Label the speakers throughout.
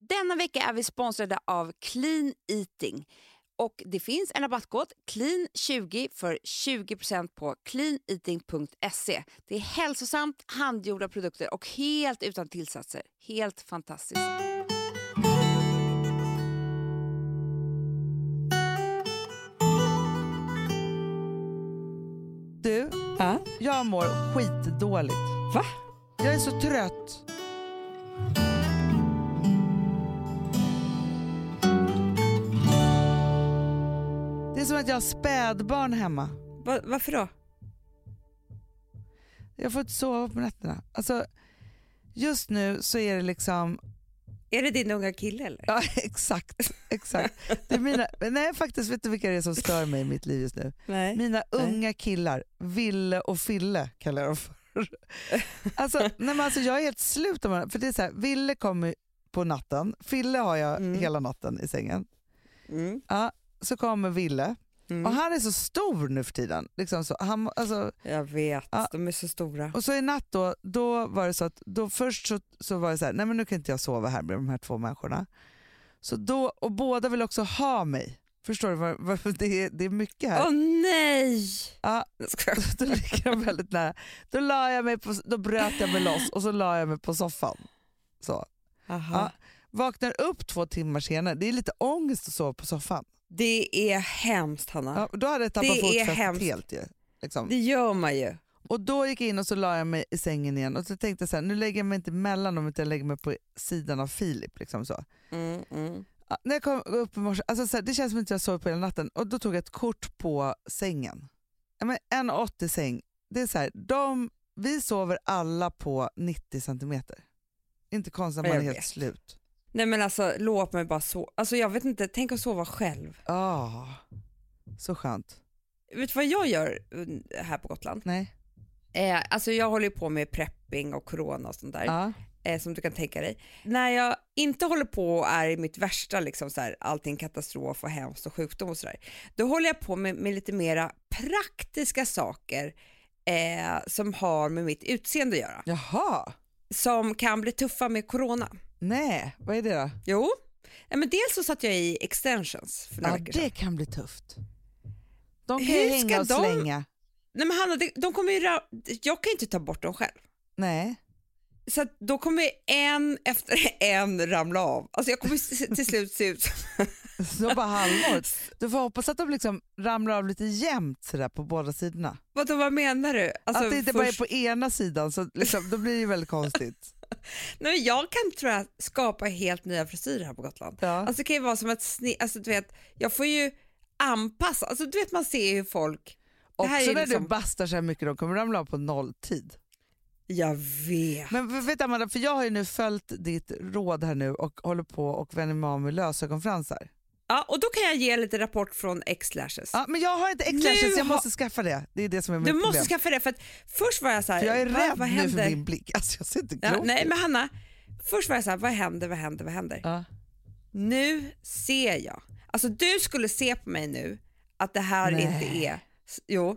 Speaker 1: Denna vecka är vi sponsrade av Clean Eating. Och Det finns en rabattkod, clean20, för 20% på cleaneating.se. Det är hälsosamt, handgjorda produkter och helt utan tillsatser. Helt fantastiskt.
Speaker 2: Du,
Speaker 3: Ja.
Speaker 2: jag mår skitdåligt.
Speaker 3: Va?
Speaker 2: Jag är så trött. Det är som att jag har spädbarn hemma.
Speaker 3: Va? Varför då?
Speaker 2: Jag får inte sova på nätterna. Alltså, just nu så är det liksom...
Speaker 3: Är det din unga kille eller?
Speaker 2: Ja, exakt. exakt. Det är mina, nej, faktiskt vet du vilka det är som stör mig i mitt liv just nu?
Speaker 3: Nej.
Speaker 2: Mina unga killar, Ville och Fille kallar jag dem för. Alltså, nej men alltså, jag är helt slut om honom. För det är så här, Ville kommer på natten, Fille har jag
Speaker 3: Mm.
Speaker 2: hela natten i sängen.
Speaker 3: Mm.
Speaker 2: Ja, så kommer Ville
Speaker 3: Mm.
Speaker 2: och han är så stor nu för tiden. Liksom så. Han, alltså,
Speaker 3: Jag vet,
Speaker 2: Ja.
Speaker 3: de är så stora.
Speaker 2: och så i natt då, då var det så att då först så, så var det så här, nej men nu kan inte jag sova här med de här två människorna. Så då, och båda vill också ha mig. Förstår du? Vad, vad, det, är, det är mycket här.
Speaker 3: Åh nej!
Speaker 2: Ja,
Speaker 3: Jag skojar.
Speaker 2: då ligger de väldigt nära. Då, la jag mig på, då bröt jag mig loss och så la jag mig på soffan. Så.
Speaker 3: Aha.
Speaker 2: Vaknar upp två timmar senare, det är lite ångest att sova på soffan.
Speaker 3: Det är hemskt Hanna.
Speaker 2: Ja, då hade jag tappat
Speaker 3: Det är
Speaker 2: fotfästet
Speaker 3: hemskt.
Speaker 2: helt ju. Liksom.
Speaker 3: Det gör man ju.
Speaker 2: Och då gick jag in och så la jag mig i sängen igen och så tänkte jag så här, nu lägger jag mig inte mellan dem utan jag lägger mig på sidan av Filip. Liksom så.
Speaker 3: Mm, mm.
Speaker 2: Ja, när jag kom upp i morse, alltså så här, det känns som att jag sov på hela natten och då tog jag ett kort på sängen. Ja, men En 80 säng, det är så här, de, vi sover alla på 90 centimeter. Inte konstigt att
Speaker 3: Ja,
Speaker 2: man är
Speaker 3: jag
Speaker 2: helt
Speaker 3: vet.
Speaker 2: slut.
Speaker 3: Nej men alltså låt mig bara sova. Alltså jag vet inte, tänk att sova själv.
Speaker 2: Ah, så skönt.
Speaker 3: Vet du vad jag gör eh, här på Gotland?
Speaker 2: Nej.
Speaker 3: Eh, alltså jag håller ju på med prepping och corona och sånt där.
Speaker 2: Ja.
Speaker 3: eh, som du kan tänka dig. När jag inte håller på och är i mitt värsta, liksom så här, allting katastrof och hemskt och sjukdom och sådär, då håller jag på med, med lite mera praktiska saker eh, som har med mitt utseende att göra,
Speaker 2: Jaha,
Speaker 3: som kan bli tuffa med corona.
Speaker 2: nej, vad är det då?
Speaker 3: Jo, Nej, men dels så satt jag i extensions för några
Speaker 2: Ja,
Speaker 3: veckor sedan.
Speaker 2: det kan bli tufft. De kan
Speaker 3: Hur
Speaker 2: ju
Speaker 3: ska
Speaker 2: hänga och
Speaker 3: de-
Speaker 2: slänga.
Speaker 3: Nej men Hanna, det, de kommer ju, ra- jag kan ju inte ta bort dem själv.
Speaker 2: Nej.
Speaker 3: Så att då kommer en efter en ramla av. Alltså jag kommer s- till slut se ut som
Speaker 2: Så bara halvåret. Du får hoppas att de liksom ramlar av lite jämnt sådär på båda sidorna.
Speaker 3: Vadå, vad menar du? Alltså,
Speaker 2: att det inte
Speaker 3: först-
Speaker 2: bara är på ena sidan, så liksom, då blir det ju väldigt konstigt.
Speaker 3: Nej, men jag kan tror jag skapa helt nya frisyrer här på Gotland.
Speaker 2: Ja.
Speaker 3: Alltså det kan ju vara som att sni- alltså du vet, jag får ju anpassa, alltså du vet man ser ju hur folk, det här
Speaker 2: Också
Speaker 3: är
Speaker 2: när
Speaker 3: liksom,
Speaker 2: du bastar så här mycket, de kommer ramla av på nolltid.
Speaker 3: jag vet.
Speaker 2: Men v- vet du, Amanda, för jag har ju nu följt ditt råd här nu och håller på och vänjer mig av med lösögonfransar.
Speaker 3: Ja, och då kan jag ge lite rapport från X-lashes.
Speaker 2: Ja, men jag har inte
Speaker 3: Nu
Speaker 2: X-lashes, jag
Speaker 3: har-
Speaker 2: måste skaffa det. Det är det som är mitt
Speaker 3: du måste
Speaker 2: problem.
Speaker 3: skaffa det för att först var jag så här,
Speaker 2: För jag är
Speaker 3: "Va,
Speaker 2: rädd
Speaker 3: vad
Speaker 2: nu för
Speaker 3: händer?
Speaker 2: min blick. Alltså, jag ser inte klok
Speaker 3: ja,
Speaker 2: ut.
Speaker 3: nej men Hanna, först var jag så här, vad händer, vad händer, vad händer?
Speaker 2: Ja.
Speaker 3: Nu ser jag. Alltså du skulle se på mig nu att det här
Speaker 2: Nej.
Speaker 3: inte är, jo.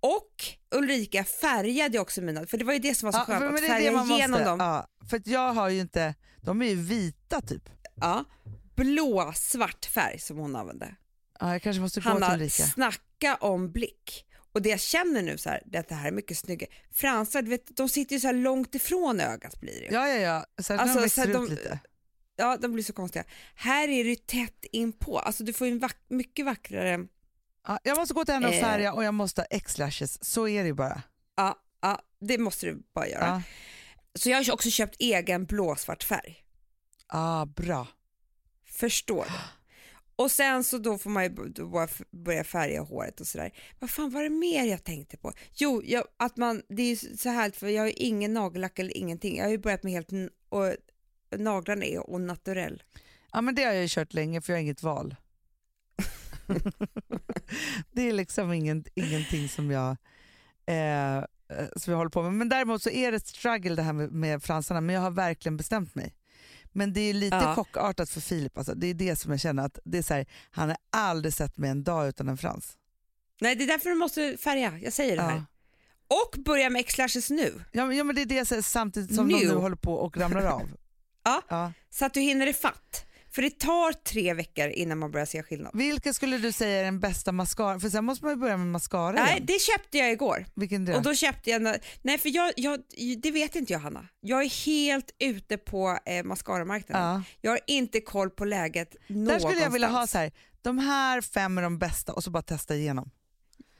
Speaker 3: Och Ulrika färgade ju också mina, för det var ju det som var så
Speaker 2: Ja,
Speaker 3: skönt,
Speaker 2: men
Speaker 3: att
Speaker 2: det är det
Speaker 3: färga
Speaker 2: man måste.
Speaker 3: igenom dem. Ja.
Speaker 2: Ja, för att jag har ju inte, de är ju vita typ.
Speaker 3: Blå, svart färg som hon använde.
Speaker 2: Ja, jag kanske måste gå till
Speaker 3: Hanna,
Speaker 2: Ulrika.
Speaker 3: snacka om blick. Och det jag känner nu så här, det, att det här är mycket snyggare. Fransar, du vet, de sitter ju så här långt ifrån ögat blir det. Ja.
Speaker 2: Ja, ja, ja. Särskilt
Speaker 3: Alltså,
Speaker 2: när de
Speaker 3: så
Speaker 2: växer
Speaker 3: att
Speaker 2: ut
Speaker 3: de-
Speaker 2: lite.
Speaker 3: ja, de blir så konstiga. Här är det ju tätt inpå, alltså du får ju en vack, mycket vackrare
Speaker 2: Ja, jag måste gå till henne och
Speaker 3: Eh.
Speaker 2: färga och jag måste ha X-lashes. Så är det ju bara.
Speaker 3: Ja, ja det måste du bara göra.
Speaker 2: Ja.
Speaker 3: Så jag har ju också köpt egen blåsvart färg.
Speaker 2: Ah, bra.
Speaker 3: Förstår du? Och sen så då får man ju b- då bara f- börja färga håret och sådär. Vad fan var det mer jag tänkte på? Jo, jag, att man, det är ju så här för jag har ju ingen nagellack eller ingenting. Jag har ju börjat med helt, n- och naglarna är och naturell.
Speaker 2: Ja, men det har jag ju kört länge för jag har inget val. det är liksom ingen, ingenting som jag, eh, eh, som jag håller på med. Men däremot så är det ett struggle det här med, med fransarna, men jag har verkligen bestämt mig. Men det är lite
Speaker 3: Ja.
Speaker 2: chockartat för Filip. Alltså. Det är det som jag känner, att det är så här, han har aldrig sett mig en dag utan en frans.
Speaker 3: Nej, det är därför du måste färga. Jag säger det här.
Speaker 2: Ja.
Speaker 3: Och börja med X-lashes nu.
Speaker 2: Ja, men, ja, men det är det så här, samtidigt som
Speaker 3: Nu.
Speaker 2: de nu håller på och ramlar av.
Speaker 3: Ja,
Speaker 2: Ja.
Speaker 3: så att du hinner ifatt. För det tar tre veckor innan man börjar se skillnad.
Speaker 2: Vilken skulle du säga är den bästa mascaran? För sen måste man ju börja med mascara
Speaker 3: Nej,
Speaker 2: igen.
Speaker 3: det köpte jag igår.
Speaker 2: Vilken du?
Speaker 3: Och då köpte jag, en- nej för jag, jag, det vet inte jag Hanna. Jag är helt ute på eh, mascaramarknaden.
Speaker 2: ja.
Speaker 3: Jag har inte koll på läget
Speaker 2: Där skulle jag vilja ha
Speaker 3: någonstans.
Speaker 2: så här, de här fem är de bästa och så bara testa igenom.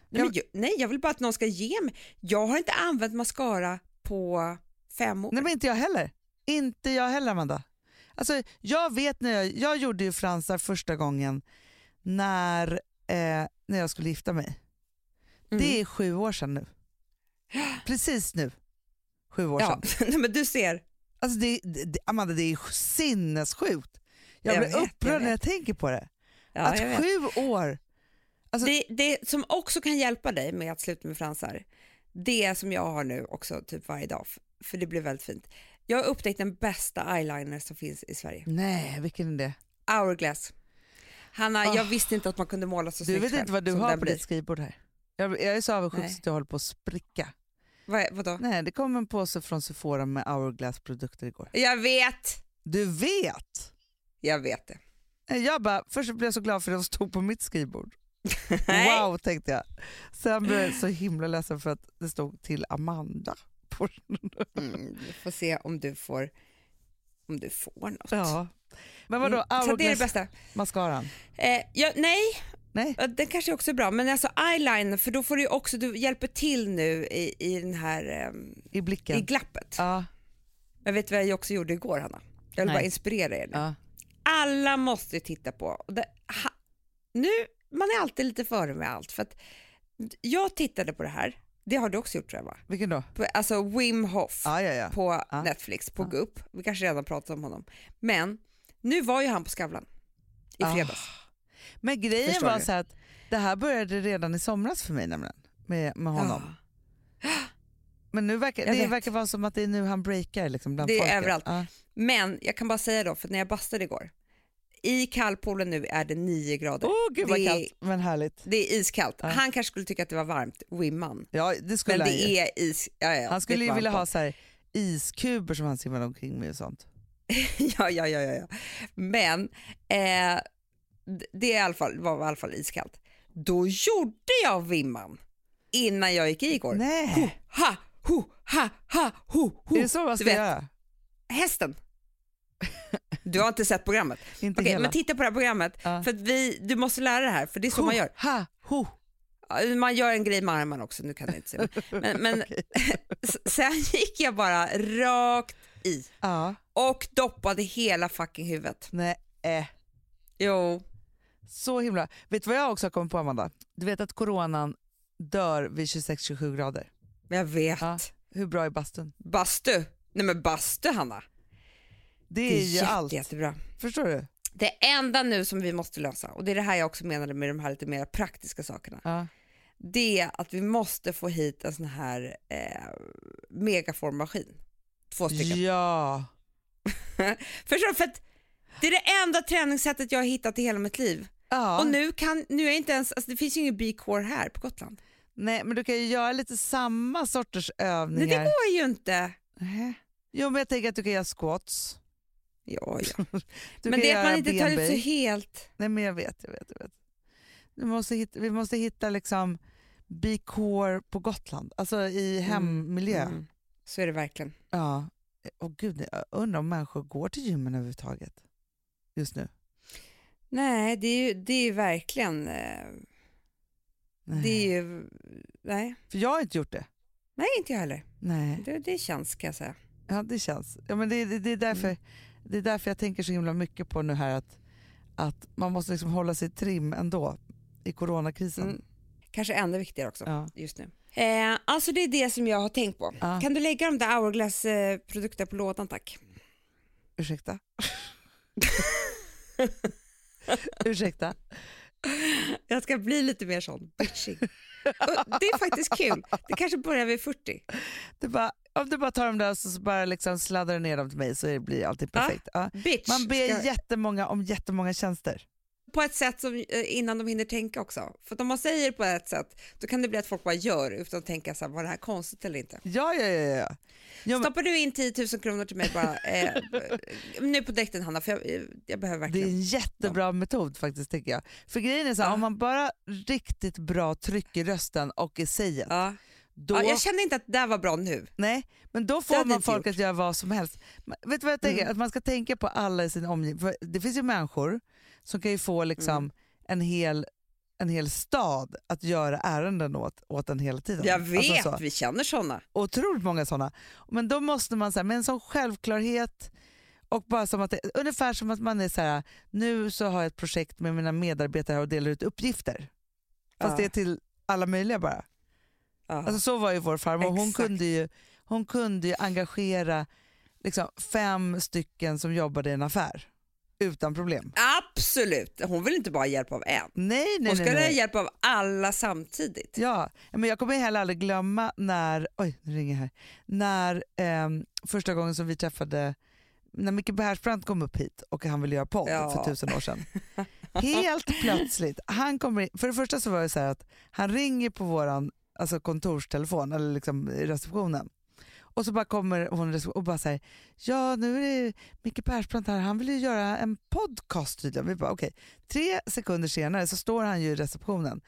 Speaker 3: Nej, men jag, nej, jag vill bara att någon ska ge mig. Jag har inte använt mascara på fem år.
Speaker 2: Nej men inte jag heller. Inte jag heller Amanda. Alltså, jag vet när jag, jag gjorde ju fransar första gången när, eh, när jag skulle gifta mig.
Speaker 3: Mm.
Speaker 2: Det är sju år sedan nu. Precis nu. Sju år
Speaker 3: ja.
Speaker 2: sedan.
Speaker 3: nej, men du ser.
Speaker 2: Alltså det, det, Amanda det är sinnessjukt. Jag,
Speaker 3: Jag
Speaker 2: blir
Speaker 3: vet, jag
Speaker 2: upprörd när
Speaker 3: vet.
Speaker 2: jag tänker på det.
Speaker 3: Ja,
Speaker 2: att
Speaker 3: jag vet.
Speaker 2: sju år, alltså-
Speaker 3: det, det som också kan hjälpa dig med att sluta med fransar, det som jag har nu också typ varje dag, f- för det blir väldigt fint. Jag har upptäckt den bästa eyeliner som finns i Sverige.
Speaker 2: nej vilken är det?
Speaker 3: Hourglass. Hanna, jag
Speaker 2: Ah.
Speaker 3: visste inte att man kunde måla så
Speaker 2: Du
Speaker 3: snyggt
Speaker 2: vet inte
Speaker 3: själv
Speaker 2: vad du
Speaker 3: som
Speaker 2: har
Speaker 3: den
Speaker 2: på
Speaker 3: blir.
Speaker 2: ditt skrivbord här. Jag, jag är så avundsjuk
Speaker 3: Nej.
Speaker 2: så att jag håller på att spricka.
Speaker 3: Vad, vadå?
Speaker 2: Nej, det kom en påse från Sephora med Hourglass-produkter igår.
Speaker 3: Jag vet,
Speaker 2: Du vet!
Speaker 3: jag vet det.
Speaker 2: Jag bara, först blev jag så glad för att de stod på mitt skrivbord.
Speaker 3: Nej.
Speaker 2: Wow, tänkte jag. Sen blev jag så himla ledsen för att det stod till Amanda. På den.
Speaker 3: Mm, vi får se om du får, om du får något.
Speaker 2: Ja. Men vadå,
Speaker 3: Mm, Så det är det
Speaker 2: Hourglass-mascaran?
Speaker 3: bästa. Eh, ja, nej,
Speaker 2: Nej,
Speaker 3: Ja, Den kanske också är bra, men alltså eyeliner, för då får du ju också, du hjälper till nu i, i den här, ehm,
Speaker 2: i blicken.
Speaker 3: i glappet.
Speaker 2: ja,
Speaker 3: Men vet du vad jag också gjorde igår Hanna? Jag vill
Speaker 2: Nej.
Speaker 3: bara inspirera er nu.
Speaker 2: ja.
Speaker 3: Alla måste ju titta på, och det, ha, nu, man är alltid lite före med allt, för att jag tittade på det här, det har du också gjort tror jag va?
Speaker 2: Vilken då?
Speaker 3: På, alltså Wim Hof
Speaker 2: Ja, ja, ja.
Speaker 3: på
Speaker 2: Ja.
Speaker 3: Netflix, på
Speaker 2: Ja.
Speaker 3: Gupp, vi kanske redan pratat om honom. Men nu var ju han på Skavlan i
Speaker 2: Ah.
Speaker 3: fredags.
Speaker 2: Men grejen
Speaker 3: Förstår
Speaker 2: var
Speaker 3: du?
Speaker 2: så här att det här började redan i somras för mig nämligen, med, med honom.
Speaker 3: Ja.
Speaker 2: Men nu verkar,
Speaker 3: Jag
Speaker 2: det
Speaker 3: vet.
Speaker 2: verkar vara som att det är nu han breakar liksom bland
Speaker 3: Det är
Speaker 2: folket.
Speaker 3: överallt.
Speaker 2: Ja.
Speaker 3: Men jag kan bara säga då, för när jag bastade igår, i kallpoolen nu är det 9 grader.
Speaker 2: Åh gud vad
Speaker 3: Det-
Speaker 2: kallt, men härligt.
Speaker 3: Det är iskallt.
Speaker 2: Ja.
Speaker 3: Han kanske skulle tycka att det var varmt, Wimman.
Speaker 2: Ja, det skulle
Speaker 3: Men
Speaker 2: han ju.
Speaker 3: det är is... Ja, ja,
Speaker 2: Han
Speaker 3: det
Speaker 2: skulle
Speaker 3: är
Speaker 2: ju
Speaker 3: varmt
Speaker 2: vilja ha
Speaker 3: bad.
Speaker 2: så här iskuber som han simmar omkring med och sånt.
Speaker 3: ja, ja, ja, ja, ja. Men eh, d- det är i alla fall, var i alla fall iskallt. Då gjorde jag Wimman innan jag gick i igår. Ho,
Speaker 2: Nej,
Speaker 3: ha, ho, ha, ha, ho, ho.
Speaker 2: är det så man
Speaker 3: Du
Speaker 2: ska
Speaker 3: vet,
Speaker 2: göra?
Speaker 3: Hästen. Du har inte sett programmet.
Speaker 2: Inte
Speaker 3: Okej,
Speaker 2: hela.
Speaker 3: men titta på det här programmet.
Speaker 2: Ja.
Speaker 3: För att vi, du måste lära dig det här, för det är så man gör.
Speaker 2: Ha, ho.
Speaker 3: Ja, Man gör en grej med armarna också, nu kan jag inte se. Men, men s- sen gick jag bara rakt i
Speaker 2: Ja,
Speaker 3: och doppade hela fucking huvudet.
Speaker 2: nej, eh.
Speaker 3: Jo.
Speaker 2: Så himla. Vet du vad jag också har kommit på Amanda? Du vet att coronan dör vid 26-27 grader.
Speaker 3: Men jag vet.
Speaker 2: Ja. Hur bra är bastun?
Speaker 3: Bastu. Nej men bastu Hanna.
Speaker 2: Det
Speaker 3: Det
Speaker 2: är,
Speaker 3: är
Speaker 2: ju
Speaker 3: jätte,
Speaker 2: allt.
Speaker 3: jättebra.
Speaker 2: Förstår du?
Speaker 3: Det enda nu som vi måste lösa, och det är det här jag också menade med de här lite mer praktiska sakerna,
Speaker 2: Ja.
Speaker 3: det är att vi måste få hit en sån här eh, megaformmaskin. Två stycken.
Speaker 2: ja.
Speaker 3: Förstår du? För att det är det enda träningssättet jag har hittat i hela mitt liv.
Speaker 2: ja.
Speaker 3: Och nu kan, nu är jag inte ens, alltså det finns ju ingen B-core här på Gotland.
Speaker 2: Nej, men du kan ju göra lite samma sorters
Speaker 3: Nej, det
Speaker 2: övningar.
Speaker 3: går ju inte.
Speaker 2: Nej. Jo, men jag tänker att du kan göra squats.
Speaker 3: Ja, ja.
Speaker 2: Du
Speaker 3: men
Speaker 2: kan
Speaker 3: det är att man
Speaker 2: göra
Speaker 3: inte tar ut sig
Speaker 2: benböj.
Speaker 3: helt.
Speaker 2: Nej, men jag vet, jag vet. Jag vet. Du måste hitta, vi måste hitta liksom B-core på Gotland, alltså i hemmiljö.
Speaker 3: Mm. Så är det verkligen.
Speaker 2: Ja. Och gud, jag undrar om människor går till gymmen överhuvudtaget just nu.
Speaker 3: Nej, det är ju, det är ju verkligen, eh,
Speaker 2: Nej.
Speaker 3: det är ju, nej,
Speaker 2: För jag har inte gjort det.
Speaker 3: nej inte jag heller.
Speaker 2: Nej,
Speaker 3: Det, det känns ska jag säga.
Speaker 2: ja, det känns. Ja, men det, det, det, är därför,
Speaker 3: Mm.
Speaker 2: det är därför jag tänker så himla mycket på nu här att, att man måste liksom hålla sig i trim ändå i coronakrisen.
Speaker 3: Mm. Kanske ännu viktigare också
Speaker 2: Ja.
Speaker 3: just nu. Eh, alltså det är det som jag har tänkt på.
Speaker 2: Ja.
Speaker 3: Kan du lägga de där Hourglass-produkterna på lådan tack?
Speaker 2: Ursäkta. Ursäkta.
Speaker 3: Jag ska bli lite mer sån, bitchig. Och det är faktiskt kul. Det kanske börjar vid 40.
Speaker 2: Du bara, om du bara tar dem där och så bara liksom sladdar du ner dem till mig så blir allting perfekt. Ja.
Speaker 3: Bitch.
Speaker 2: Man ber
Speaker 3: Ah. ska-
Speaker 2: jättemånga om jättemånga tjänster.
Speaker 3: på ett sätt som, eh, innan de hinner tänka också. För att om man säger på ett sätt, då kan det bli att folk bara gör utan att tänka så här, var det här konstigt eller inte?
Speaker 2: Ja, ja, ja. ja. ja men,
Speaker 3: Stoppar du in 10 000 kronor till mig bara, eh, nu på dräkten Hanna, för jag, eh, jag behöver
Speaker 2: det är
Speaker 3: verkligen.
Speaker 2: en jättebra metod faktiskt tycker jag. För grejen är så här,
Speaker 3: Ja.
Speaker 2: om man bara riktigt bra tryck i rösten och i säget,
Speaker 3: Ja.
Speaker 2: då,
Speaker 3: Ja, jag kände inte att det där var bra nu.
Speaker 2: nej, men då får
Speaker 3: hade
Speaker 2: man
Speaker 3: inte gjort.
Speaker 2: folk att göra vad som helst. Men, vet du vad jag tänker?
Speaker 3: Mm.
Speaker 2: Att man ska tänka på alla i sin omgivning. För Det finns ju människor som kan ju få liksom
Speaker 3: Mm.
Speaker 2: en, hel, en hel stad att göra ärenden åt, åt en hela tiden.
Speaker 3: Jag vet,
Speaker 2: Alltså så.
Speaker 3: vi känner sådana.
Speaker 2: otroligt många sådana. Men då måste man så här, med en sån självklarhet och bara som att det, ungefär som att man är så här, nu så har jag ett projekt med mina medarbetare och delar ut uppgifter. Fast
Speaker 3: Ja.
Speaker 2: det är till alla möjliga bara.
Speaker 3: Ja.
Speaker 2: Alltså så var ju vår farmor. Hon
Speaker 3: Exakt.
Speaker 2: kunde ju, hon kunde ju engagera liksom fem stycken som jobbade i en affär utan problem.
Speaker 3: Absolut, hon vill inte bara ha hjälp av en.
Speaker 2: Nej, nej,
Speaker 3: Hon ska
Speaker 2: nej.
Speaker 3: ha
Speaker 2: nej.
Speaker 3: hjälp av alla samtidigt.
Speaker 2: Ja, men jag kommer heller aldrig glömma när, oj nu ringer jag här, när ehm, första gången som vi träffade, när Micke Persbrandt kom upp hit och han ville göra podd
Speaker 3: Ja.
Speaker 2: för tusen år sedan. Helt plötsligt, han kommer in, för det första så var det så här att han ringer på våran alltså kontorstelefon eller liksom receptionen. Och så bara kommer hon i reception- och bara säger ja nu är det Micke Persbrandt här, han vill ju göra en podcast tydligen. Vi bara okej. Tre sekunder senare så står han ju i receptionen.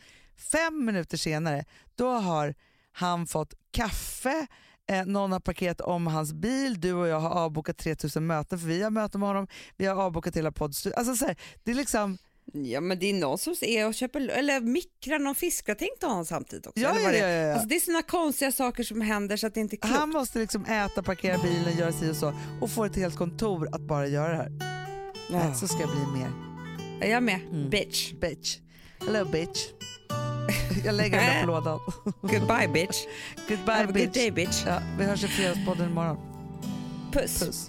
Speaker 2: Fem minuter senare då har han fått kaffe, eh, någon har parkerat om hans bil, du och jag har avbokat 3000 möten för vi har möten med honom, vi har avbokat hela poddstudion. Alltså, så här, det är liksom,
Speaker 3: Ja men det är någon som är och köper, eller mikrar någon fiskgratäng till honom samtidigt också.
Speaker 2: ja,
Speaker 3: eller
Speaker 2: ja,
Speaker 3: vad det
Speaker 2: ja,
Speaker 3: är.
Speaker 2: ja.
Speaker 3: Alltså, det är såna konstiga saker som händer så att det inte är klokt.
Speaker 2: Han måste liksom äta, parkera bilen, göra si och så och få ett helt kontor att bara göra det här.
Speaker 3: Ja.
Speaker 2: Ah, Så ska jag bli mer
Speaker 3: Är jag med?
Speaker 2: Mm.
Speaker 3: Bitch.
Speaker 2: bitch. Hello bitch. Jag lägger den där på lådan.
Speaker 3: Goodbye bitch. Have a
Speaker 2: Goodbye
Speaker 3: good
Speaker 2: bitch.
Speaker 3: day bitch.
Speaker 2: Ja, vi hörs i Fredagspodden imorgon.
Speaker 3: Puss.
Speaker 2: Puss.